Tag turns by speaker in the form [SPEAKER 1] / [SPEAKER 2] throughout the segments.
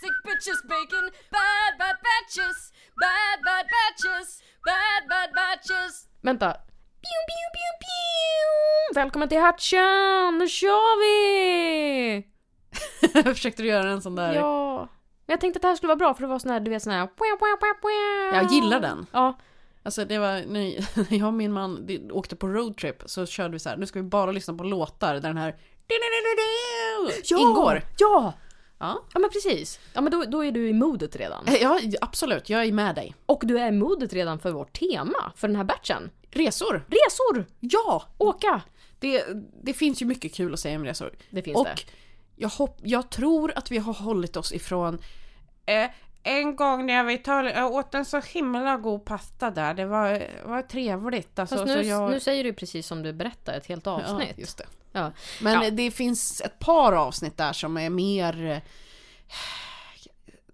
[SPEAKER 1] sandwiches, bacon, bad bad batches, bad bad batches, bad bad batches.
[SPEAKER 2] Vänta. Pew, pew, pew, pew. Välkommen till Hatchen! Nu kör vi!
[SPEAKER 3] Försökte du göra en sån där?
[SPEAKER 2] Ja. Men jag tänkte att det här skulle vara bra för det var sån här, du vet sån här...
[SPEAKER 3] Jag gillar den.
[SPEAKER 2] Ja.
[SPEAKER 3] Alltså det var, när jag och min man det- åkte på roadtrip så körde vi så här, nu ska vi bara lyssna på låtar där den här
[SPEAKER 2] ja!
[SPEAKER 3] ingår.
[SPEAKER 2] Ja!
[SPEAKER 3] Ja.
[SPEAKER 2] Ja men precis. Ja men då, då är du i modet redan.
[SPEAKER 3] Eh, ja, absolut, jag är med dig.
[SPEAKER 2] Och du är i modet redan för vårt tema för den här batchen.
[SPEAKER 3] Resor!
[SPEAKER 2] Resor!
[SPEAKER 3] Ja!
[SPEAKER 2] Åka!
[SPEAKER 3] Det, det finns ju mycket kul att säga om resor.
[SPEAKER 2] Det finns
[SPEAKER 3] och
[SPEAKER 2] det.
[SPEAKER 3] Jag, hopp, jag tror att vi har hållit oss ifrån eh, en gång när jag var i Italien, jag åt en så himla god pasta där. Det var, var trevligt. Alltså,
[SPEAKER 2] Fast
[SPEAKER 3] så
[SPEAKER 2] nu,
[SPEAKER 3] jag,
[SPEAKER 2] nu säger du precis som du berättar ett helt avsnitt.
[SPEAKER 3] Ja, just det.
[SPEAKER 2] Ja.
[SPEAKER 3] Men
[SPEAKER 2] Ja.
[SPEAKER 3] eh, det finns ett par avsnitt där som är mer... eh,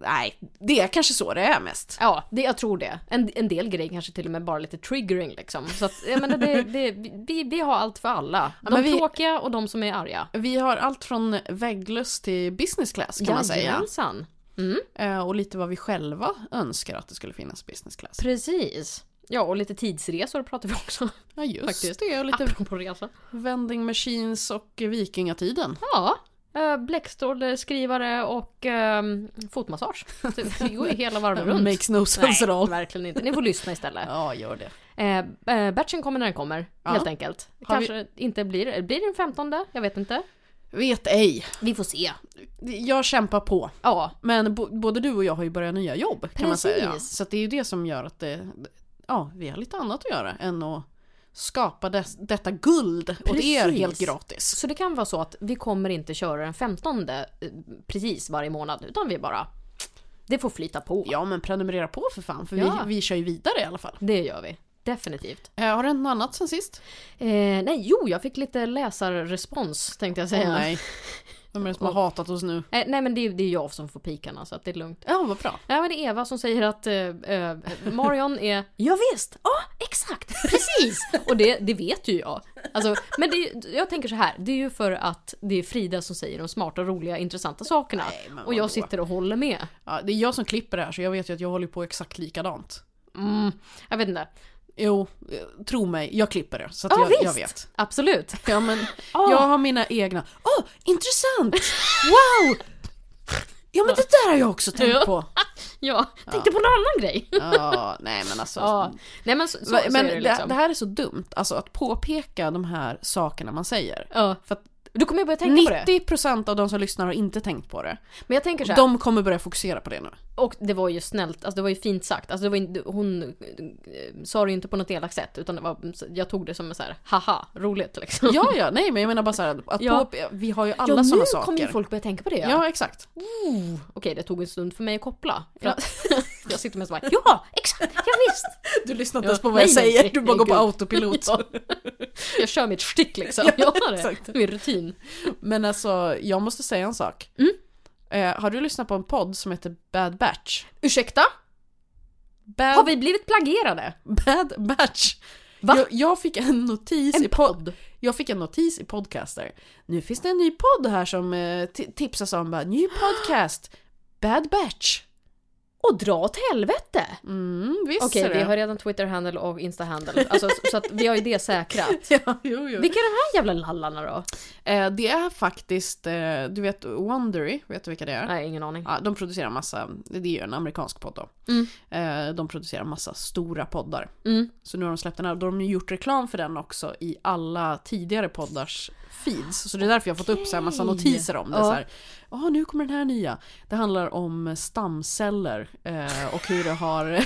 [SPEAKER 3] Nej, det är kanske så det är mest.
[SPEAKER 2] Ja, det, jag tror det. En, en del grejer kanske till och med bara lite triggering liksom. Så att, jag menar, det, det, vi, vi har allt för alla. De
[SPEAKER 3] men vi-
[SPEAKER 2] tråkiga och de som är arga.
[SPEAKER 3] Vi har allt från vägglöss till business class kan man säga.
[SPEAKER 2] Jajamensan.
[SPEAKER 3] Eh, Och lite vad vi själva önskar att det skulle finnas business class.
[SPEAKER 2] Precis. Ja, och lite tidsresor pratar vi också.
[SPEAKER 3] Ja just
[SPEAKER 2] Faktiskt. Ah.
[SPEAKER 3] det, och lite
[SPEAKER 2] Apropå resa.
[SPEAKER 3] vending machines och vikingatiden.
[SPEAKER 2] Ja. eh, Bläckstål, skrivare och ehm, fotmassage. Så Det går ju hela varvet runt.
[SPEAKER 3] Mm, Makes no sense at
[SPEAKER 2] Nej,
[SPEAKER 3] all.
[SPEAKER 2] verkligen inte. Ni får lyssna istället.
[SPEAKER 3] Ja, gör det.
[SPEAKER 2] Eh, eh, batchen kommer när den kommer,
[SPEAKER 3] Ja.
[SPEAKER 2] helt enkelt.
[SPEAKER 3] Har vi-
[SPEAKER 2] Kanske inte blir, blir det den 15? Jag vet inte.
[SPEAKER 3] Vet ej.
[SPEAKER 2] Vi får se.
[SPEAKER 3] Jag kämpar på.
[SPEAKER 2] Ja,
[SPEAKER 3] Men bo- både du och jag har ju börjat nya jobb kan man säga.
[SPEAKER 2] Precis.
[SPEAKER 3] Så att det är ju det som gör att det, ja, vi har lite annat att göra än att skapa des, detta guld åt er
[SPEAKER 2] Precis.
[SPEAKER 3] helt gratis.
[SPEAKER 2] Så det kan vara så att vi kommer inte köra den 15 eh, precis varje månad utan vi bara, det får flyta på.
[SPEAKER 3] Ja men prenumerera på för fan för
[SPEAKER 2] Ja.
[SPEAKER 3] vi, vi kör ju vidare i alla fall.
[SPEAKER 2] Det gör vi. Definitivt.
[SPEAKER 3] Eh, har det hänt något annat sen sist?
[SPEAKER 2] Eh, nej, jo, jag fick lite läsarrespons tänkte jag säga.
[SPEAKER 3] Åh,
[SPEAKER 2] nej.
[SPEAKER 3] nej. Vem är det som har hatat oss nu?
[SPEAKER 2] Eh, nej, men det, är- det är jag som får pikarna så att det är lugnt.
[SPEAKER 3] Ja vad bra.
[SPEAKER 2] Nej, men det är Eva som säger att eh, eh, Marion är Ja visst, ja exakt, precis! Och det, det vet ju jag. Alltså, men det, jag tänker så här, det är ju för att det är Frida som säger de smarta, roliga, intressanta sakerna.
[SPEAKER 3] Nej, men
[SPEAKER 2] och jag
[SPEAKER 3] vadå?
[SPEAKER 2] sitter och håller med.
[SPEAKER 3] Ja, det är jag som klipper det här så jag vet ju att jag håller på exakt likadant.
[SPEAKER 2] Mm, jag vet inte.
[SPEAKER 3] Jo, eh, tro mig, jag klipper det. Så att
[SPEAKER 2] Ja
[SPEAKER 3] jag,
[SPEAKER 2] visst,
[SPEAKER 3] jag vet.
[SPEAKER 2] absolut.
[SPEAKER 3] Ja, men,
[SPEAKER 2] Ah.
[SPEAKER 3] Jag har mina egna. Åh, oh, intressant! Wow! Ja men det där har jag också tänkt
[SPEAKER 2] Ja.
[SPEAKER 3] på.
[SPEAKER 2] Ja, tänkte på en annan grej.
[SPEAKER 3] Ja, nej men alltså.
[SPEAKER 2] Ja. Nej men så, så,
[SPEAKER 3] Va-
[SPEAKER 2] så
[SPEAKER 3] men
[SPEAKER 2] är
[SPEAKER 3] det,
[SPEAKER 2] det liksom.
[SPEAKER 3] det här är så dumt, alltså att påpeka de här sakerna man säger.
[SPEAKER 2] ja.
[SPEAKER 3] För att
[SPEAKER 2] Då kommer jag börja tänka på det.
[SPEAKER 3] 90% av de som lyssnar har inte tänkt på det.
[SPEAKER 2] Men jag tänker så här,
[SPEAKER 3] De kommer börja fokusera på det nu.
[SPEAKER 2] och det var ju snällt, alltså det var ju fint sagt. Alltså det var inte, hon eh, sa det ju inte på något elakt sätt utan det var, jag tog det som en så här, haha, roligt liksom.
[SPEAKER 3] Ja, ja, nej men jag menar bara så här, att
[SPEAKER 2] Ja.
[SPEAKER 3] påpe- vi har ju
[SPEAKER 2] Ja,
[SPEAKER 3] alla
[SPEAKER 2] nu
[SPEAKER 3] sådana
[SPEAKER 2] kommer ju
[SPEAKER 3] saker.
[SPEAKER 2] folk börja tänka på det. Ja.
[SPEAKER 3] Ja, exakt.
[SPEAKER 2] Okej, det tog en stund för mig att koppla. För
[SPEAKER 3] Ja.
[SPEAKER 2] att jag sitter med så bara, ja, exakt, ja, visst.
[SPEAKER 3] Du lyssnar inte
[SPEAKER 2] Ja.
[SPEAKER 3] ens på vad
[SPEAKER 2] Nej,
[SPEAKER 3] jag
[SPEAKER 2] nej,
[SPEAKER 3] säger,
[SPEAKER 2] nej,
[SPEAKER 3] du bara går på
[SPEAKER 2] gud.
[SPEAKER 3] autopilot.
[SPEAKER 2] Ja. Jag kör mitt stick liksom.
[SPEAKER 3] Ja,
[SPEAKER 2] Ja, jag har det.
[SPEAKER 3] exakt.
[SPEAKER 2] Min rutin.
[SPEAKER 3] Men alltså, jag måste säga en sak.
[SPEAKER 2] Mm.
[SPEAKER 3] Eh, har du lyssnat på en podd som heter Bad Batch?
[SPEAKER 2] Ursäkta?
[SPEAKER 3] Bad,
[SPEAKER 2] Har vi blivit plagierade?
[SPEAKER 3] Bad Batch!
[SPEAKER 2] Va?
[SPEAKER 3] Jag, jag fick en notis
[SPEAKER 2] En
[SPEAKER 3] i podd. Jag fick en notis i Podcaster. Nu finns det en ny podd här som eh, ti- tipsas om. Bara, ny podcast! Bad Batch!
[SPEAKER 2] Och dra åt helvete!
[SPEAKER 3] Mm, visst
[SPEAKER 2] Okej,
[SPEAKER 3] är det.
[SPEAKER 2] vi har redan Twitter-handle och Insta-handle. Alltså, så, så att vi har ju det säkrat.
[SPEAKER 3] Ja, jo, jo.
[SPEAKER 2] Vilka är de här jävla lallarna då?
[SPEAKER 3] Eh, det är faktiskt, eh, du vet Wondery, vet du vilka det är?
[SPEAKER 2] Nej, ingen aning.
[SPEAKER 3] Ja, de producerar massa, det är ju en amerikansk podd då.
[SPEAKER 2] Mm.
[SPEAKER 3] Eh, de producerar massa stora poddar.
[SPEAKER 2] Mm.
[SPEAKER 3] Så nu har de släppt den här. Då har de ju gjort reklam för den också i alla tidigare poddars feeds. Så det är därför jag har fått upp så här massa
[SPEAKER 2] Okej.
[SPEAKER 3] notiser om det.
[SPEAKER 2] Ja.
[SPEAKER 3] Så här, "Åh, nu kommer den här nya. Det handlar om stamceller eh, och hur det har...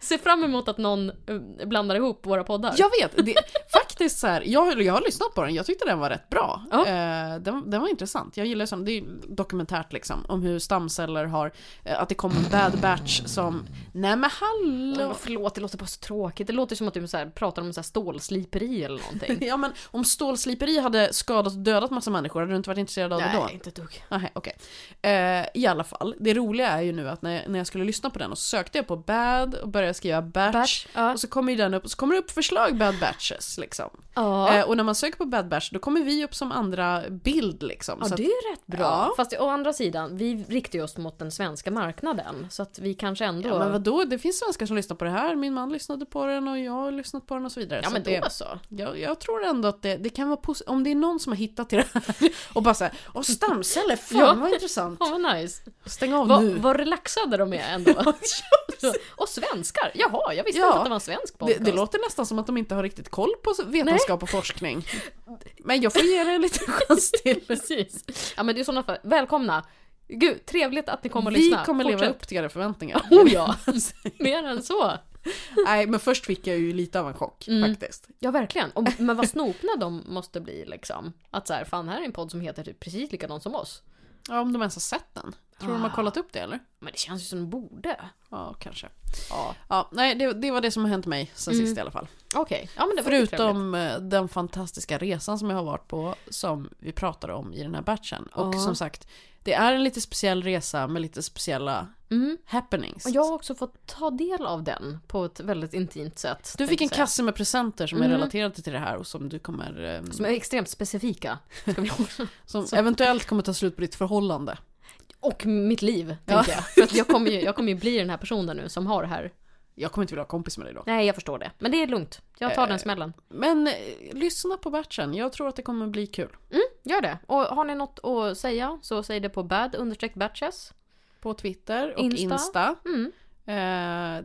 [SPEAKER 2] Se fram emot att någon eh, blandar ihop våra poddar.
[SPEAKER 3] jag vet! Det, faktiskt så här, jag, jag har lyssnat på den. Jag tyckte den var rätt bra.
[SPEAKER 2] Ja.
[SPEAKER 3] Eh, den, den var intressant. Jag gillar sånt. Det är ju dokumentärt liksom. Om hur stamceller har... Eh, att det kom en bad batch som... Nej men hallå!
[SPEAKER 2] Åh, Förlåt, det låter bara så tråkigt. Det låter som att du så här, pratar om så här stålsliperi eller någonting.
[SPEAKER 3] Ja men om stålsliperi hade skadat och dödat massa människor, hade du inte varit intresserad av det då?
[SPEAKER 2] inte ett dugg.
[SPEAKER 3] Nej, okej. Eh, I alla fall, det roliga är ju nu att när, när jag skulle lyssna på den och så sökte jag på bad och började skriva batch.
[SPEAKER 2] Batch, ja.
[SPEAKER 3] Och så kommer ju den upp, och så kommer det upp förslag bad batches liksom. liksom.
[SPEAKER 2] Ja.
[SPEAKER 3] Eh, och när man söker på Bad Batch då kommer vi upp som andra bild liksom.
[SPEAKER 2] Ja,
[SPEAKER 3] så att,
[SPEAKER 2] det är ju rätt bra.
[SPEAKER 3] Ja.
[SPEAKER 2] Fast å andra sidan, vi riktar ju oss mot den svenska marknaden. Så att vi kanske ändå...
[SPEAKER 3] ja, men vadå, det finns svenskar som lyssnar på det här. Min man lyssnade på den och jag har lyssnat på den och så vidare.
[SPEAKER 2] Ja,
[SPEAKER 3] så
[SPEAKER 2] men
[SPEAKER 3] det,
[SPEAKER 2] då så.
[SPEAKER 3] jag, jag tror ändå att det, det kan vara positivt. Om det är någon som har hittat till det här och bara såhär, åh stamceller, fan
[SPEAKER 2] Ja.
[SPEAKER 3] vad intressant.
[SPEAKER 2] Ja, vad nice.
[SPEAKER 3] Stäng av
[SPEAKER 2] Vad
[SPEAKER 3] nu.
[SPEAKER 2] vad relaxade de är ändå. och svenskar! Jaha, jag visste
[SPEAKER 3] Ja.
[SPEAKER 2] inte att det var en svensk
[SPEAKER 3] Det,
[SPEAKER 2] podcast.
[SPEAKER 3] det låter nästan som att de inte har riktigt koll på vetenskap och forskning. Men jag får ge det lite chans till.
[SPEAKER 2] Precis. Ja men det är sådana fall. Välkomna! Gud, trevligt att ni kommer och
[SPEAKER 3] Vi
[SPEAKER 2] lyssnar.
[SPEAKER 3] kommer leva
[SPEAKER 2] Fortsätt.
[SPEAKER 3] upp till era förväntningar.
[SPEAKER 2] Oh ja! Mer än så.
[SPEAKER 3] Nej, men först fick jag ju lite av en chock
[SPEAKER 2] Mm.
[SPEAKER 3] faktiskt.
[SPEAKER 2] Ja verkligen. Och, men vad snopna de måste bli liksom. Att så här, fan här är en podd som heter typ precis likadant som oss.
[SPEAKER 3] Ja, om de ens har sett den. Tror du de
[SPEAKER 2] Ah.
[SPEAKER 3] har kollat upp det eller?
[SPEAKER 2] Men det känns ju som de borde.
[SPEAKER 3] Ja, kanske.
[SPEAKER 2] Ja.
[SPEAKER 3] Ja, nej, det, det var det som har hänt mig sen sist i alla fall.
[SPEAKER 2] Okej. Ja men Mm. det var ju trevligt.
[SPEAKER 3] Förutom eh, den fantastiska resan som jag har varit på som vi pratade om i den här batchen. Och
[SPEAKER 2] Ja.
[SPEAKER 3] som sagt, det är en lite speciell resa med lite speciella
[SPEAKER 2] Mm.
[SPEAKER 3] happenings.
[SPEAKER 2] Och jag har också fått ta del av den på ett väldigt intimt sätt.
[SPEAKER 3] Du fick
[SPEAKER 2] tänkte
[SPEAKER 3] en
[SPEAKER 2] jag säga.
[SPEAKER 3] kasse med presenter som är
[SPEAKER 2] Mm.
[SPEAKER 3] relaterade till det här och som du kommer... ehm,
[SPEAKER 2] Som är extremt specifika. Ska vi
[SPEAKER 3] Som eventuellt kommer ta slut på ditt förhållande.
[SPEAKER 2] och mitt liv,
[SPEAKER 3] Ja.
[SPEAKER 2] tänker jag. För att jag kommer ju, jag kommer ju bli den här personen nu som har det här
[SPEAKER 3] Jag kommer inte vilja ha kompis med dig då.
[SPEAKER 2] Nej, jag förstår det. Men det är lugnt. Jag tar
[SPEAKER 3] Eh.
[SPEAKER 2] den smällen.
[SPEAKER 3] Men eh, lyssna på batchen, jag tror att det kommer bli kul.
[SPEAKER 2] Gör det. Och har ni något att säga så säg det på bad understreck batches.
[SPEAKER 3] På Twitter och
[SPEAKER 2] Insta.
[SPEAKER 3] Insta.
[SPEAKER 2] Mm.
[SPEAKER 3] Eh,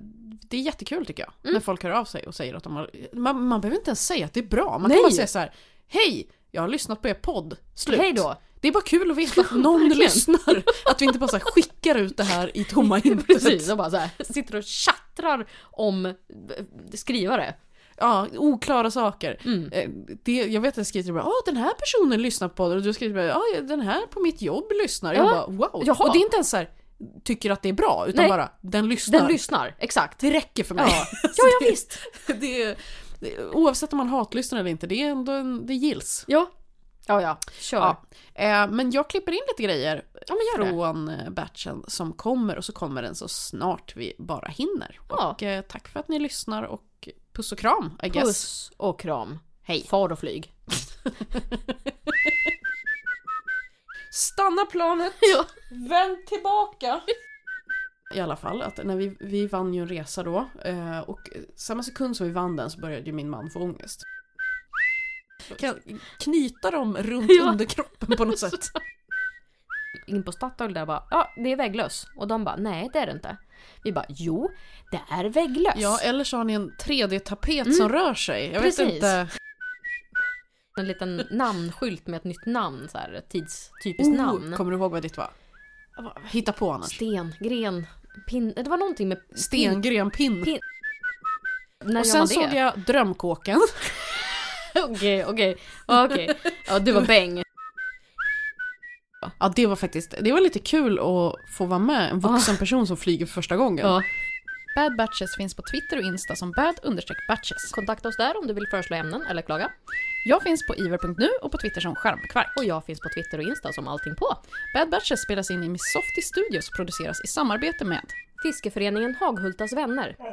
[SPEAKER 3] det är jättekul tycker jag. När folk hör av sig och säger att de har... Man, man behöver inte ens säga att det är bra. Man
[SPEAKER 2] Nej.
[SPEAKER 3] kan bara säga så här. Hej! Jag har lyssnat på er podd. Slut.
[SPEAKER 2] Hej då!
[SPEAKER 3] Det är bara kul att veta att någon
[SPEAKER 2] Verkligen.
[SPEAKER 3] lyssnar. Att vi inte bara så här skickar ut det här i tomma intet.
[SPEAKER 2] Precis, och bara så här, sitter och tjattrar om eh, skrivare.
[SPEAKER 3] Ja, oklara saker.
[SPEAKER 2] Mm.
[SPEAKER 3] Eh, Det, jag vet att jag skriver till dig bara ah, den här personen lyssnar på det och du skriver bara ah, den här på mitt jobb lyssnar. Jag
[SPEAKER 2] Ja.
[SPEAKER 3] bara wow.
[SPEAKER 2] Jaha.
[SPEAKER 3] Och det är inte ens så här tycker att det är bra utan
[SPEAKER 2] Nej.
[SPEAKER 3] bara den lyssnar.
[SPEAKER 2] Den lyssnar, exakt.
[SPEAKER 3] det räcker för mig.
[SPEAKER 2] Ja.
[SPEAKER 3] Så
[SPEAKER 2] Ja, ja,
[SPEAKER 3] det-
[SPEAKER 2] visst.
[SPEAKER 3] Det, är- det, oavsett om man hatlyssnar eller inte, det är ändå en, det gills.
[SPEAKER 2] Ja. Ja, ja. Kör.
[SPEAKER 3] Ja. Eh, men jag klipper in lite grejer
[SPEAKER 2] Ja, men gör det.
[SPEAKER 3] från eh, batchen som kommer och så kommer den så snart vi bara hinner.
[SPEAKER 2] Ja.
[SPEAKER 3] Och eh, tack för att ni lyssnar och puss och kram I guess.
[SPEAKER 2] Puss och kram.
[SPEAKER 3] Hej.
[SPEAKER 2] Far och flyg.
[SPEAKER 3] Stanna planet!
[SPEAKER 2] Ja.
[SPEAKER 3] Vänd tillbaka! I alla fall, att när vi, vi vann ju en resa då eh, och samma sekund som vi vann den så började ju min man få ångest. Kan knyta dem runt
[SPEAKER 2] Ja.
[SPEAKER 3] underkroppen på något sätt.
[SPEAKER 2] in på Statoil där och bara ja, det är vägglöss. Och de bara nej, det är det inte. Vi bara jo, det är vägglöss.
[SPEAKER 3] Ja, eller så har ni en 3D-tapet
[SPEAKER 2] Mm.
[SPEAKER 3] som rör sig. Jag
[SPEAKER 2] Precis.
[SPEAKER 3] vet inte.
[SPEAKER 2] En liten namnskylt med ett nytt namn, så här, tids, typiskt namn.
[SPEAKER 3] Oh, Kommer du ihåg vad ditt var? Hitta på annars.
[SPEAKER 2] Sten, gren, pin... Det var någonting med...
[SPEAKER 3] Stengren pin.
[SPEAKER 2] Pin- När
[SPEAKER 3] Och
[SPEAKER 2] gör man
[SPEAKER 3] sen
[SPEAKER 2] det?
[SPEAKER 3] såg jag drömkåken.
[SPEAKER 2] Okej, okej. Ja, Okej. Ja, du var bäng.
[SPEAKER 3] Ja, det var faktiskt, det var lite kul att få vara med. En vuxen person som flyger för första gången.
[SPEAKER 2] Ja.
[SPEAKER 4] Bad Batches finns på Twitter och Insta som bad-batches.
[SPEAKER 2] Kontakta oss där om du vill föreslå ämnen eller klaga.
[SPEAKER 4] Jag finns på iver.nu och på Twitter som skärmkvark.
[SPEAKER 2] Och jag finns på Twitter och Insta som allting på.
[SPEAKER 4] Bad Batches spelas in i Missofty Studios och produceras i samarbete med
[SPEAKER 2] Fiskeföreningen Haghultas vänner.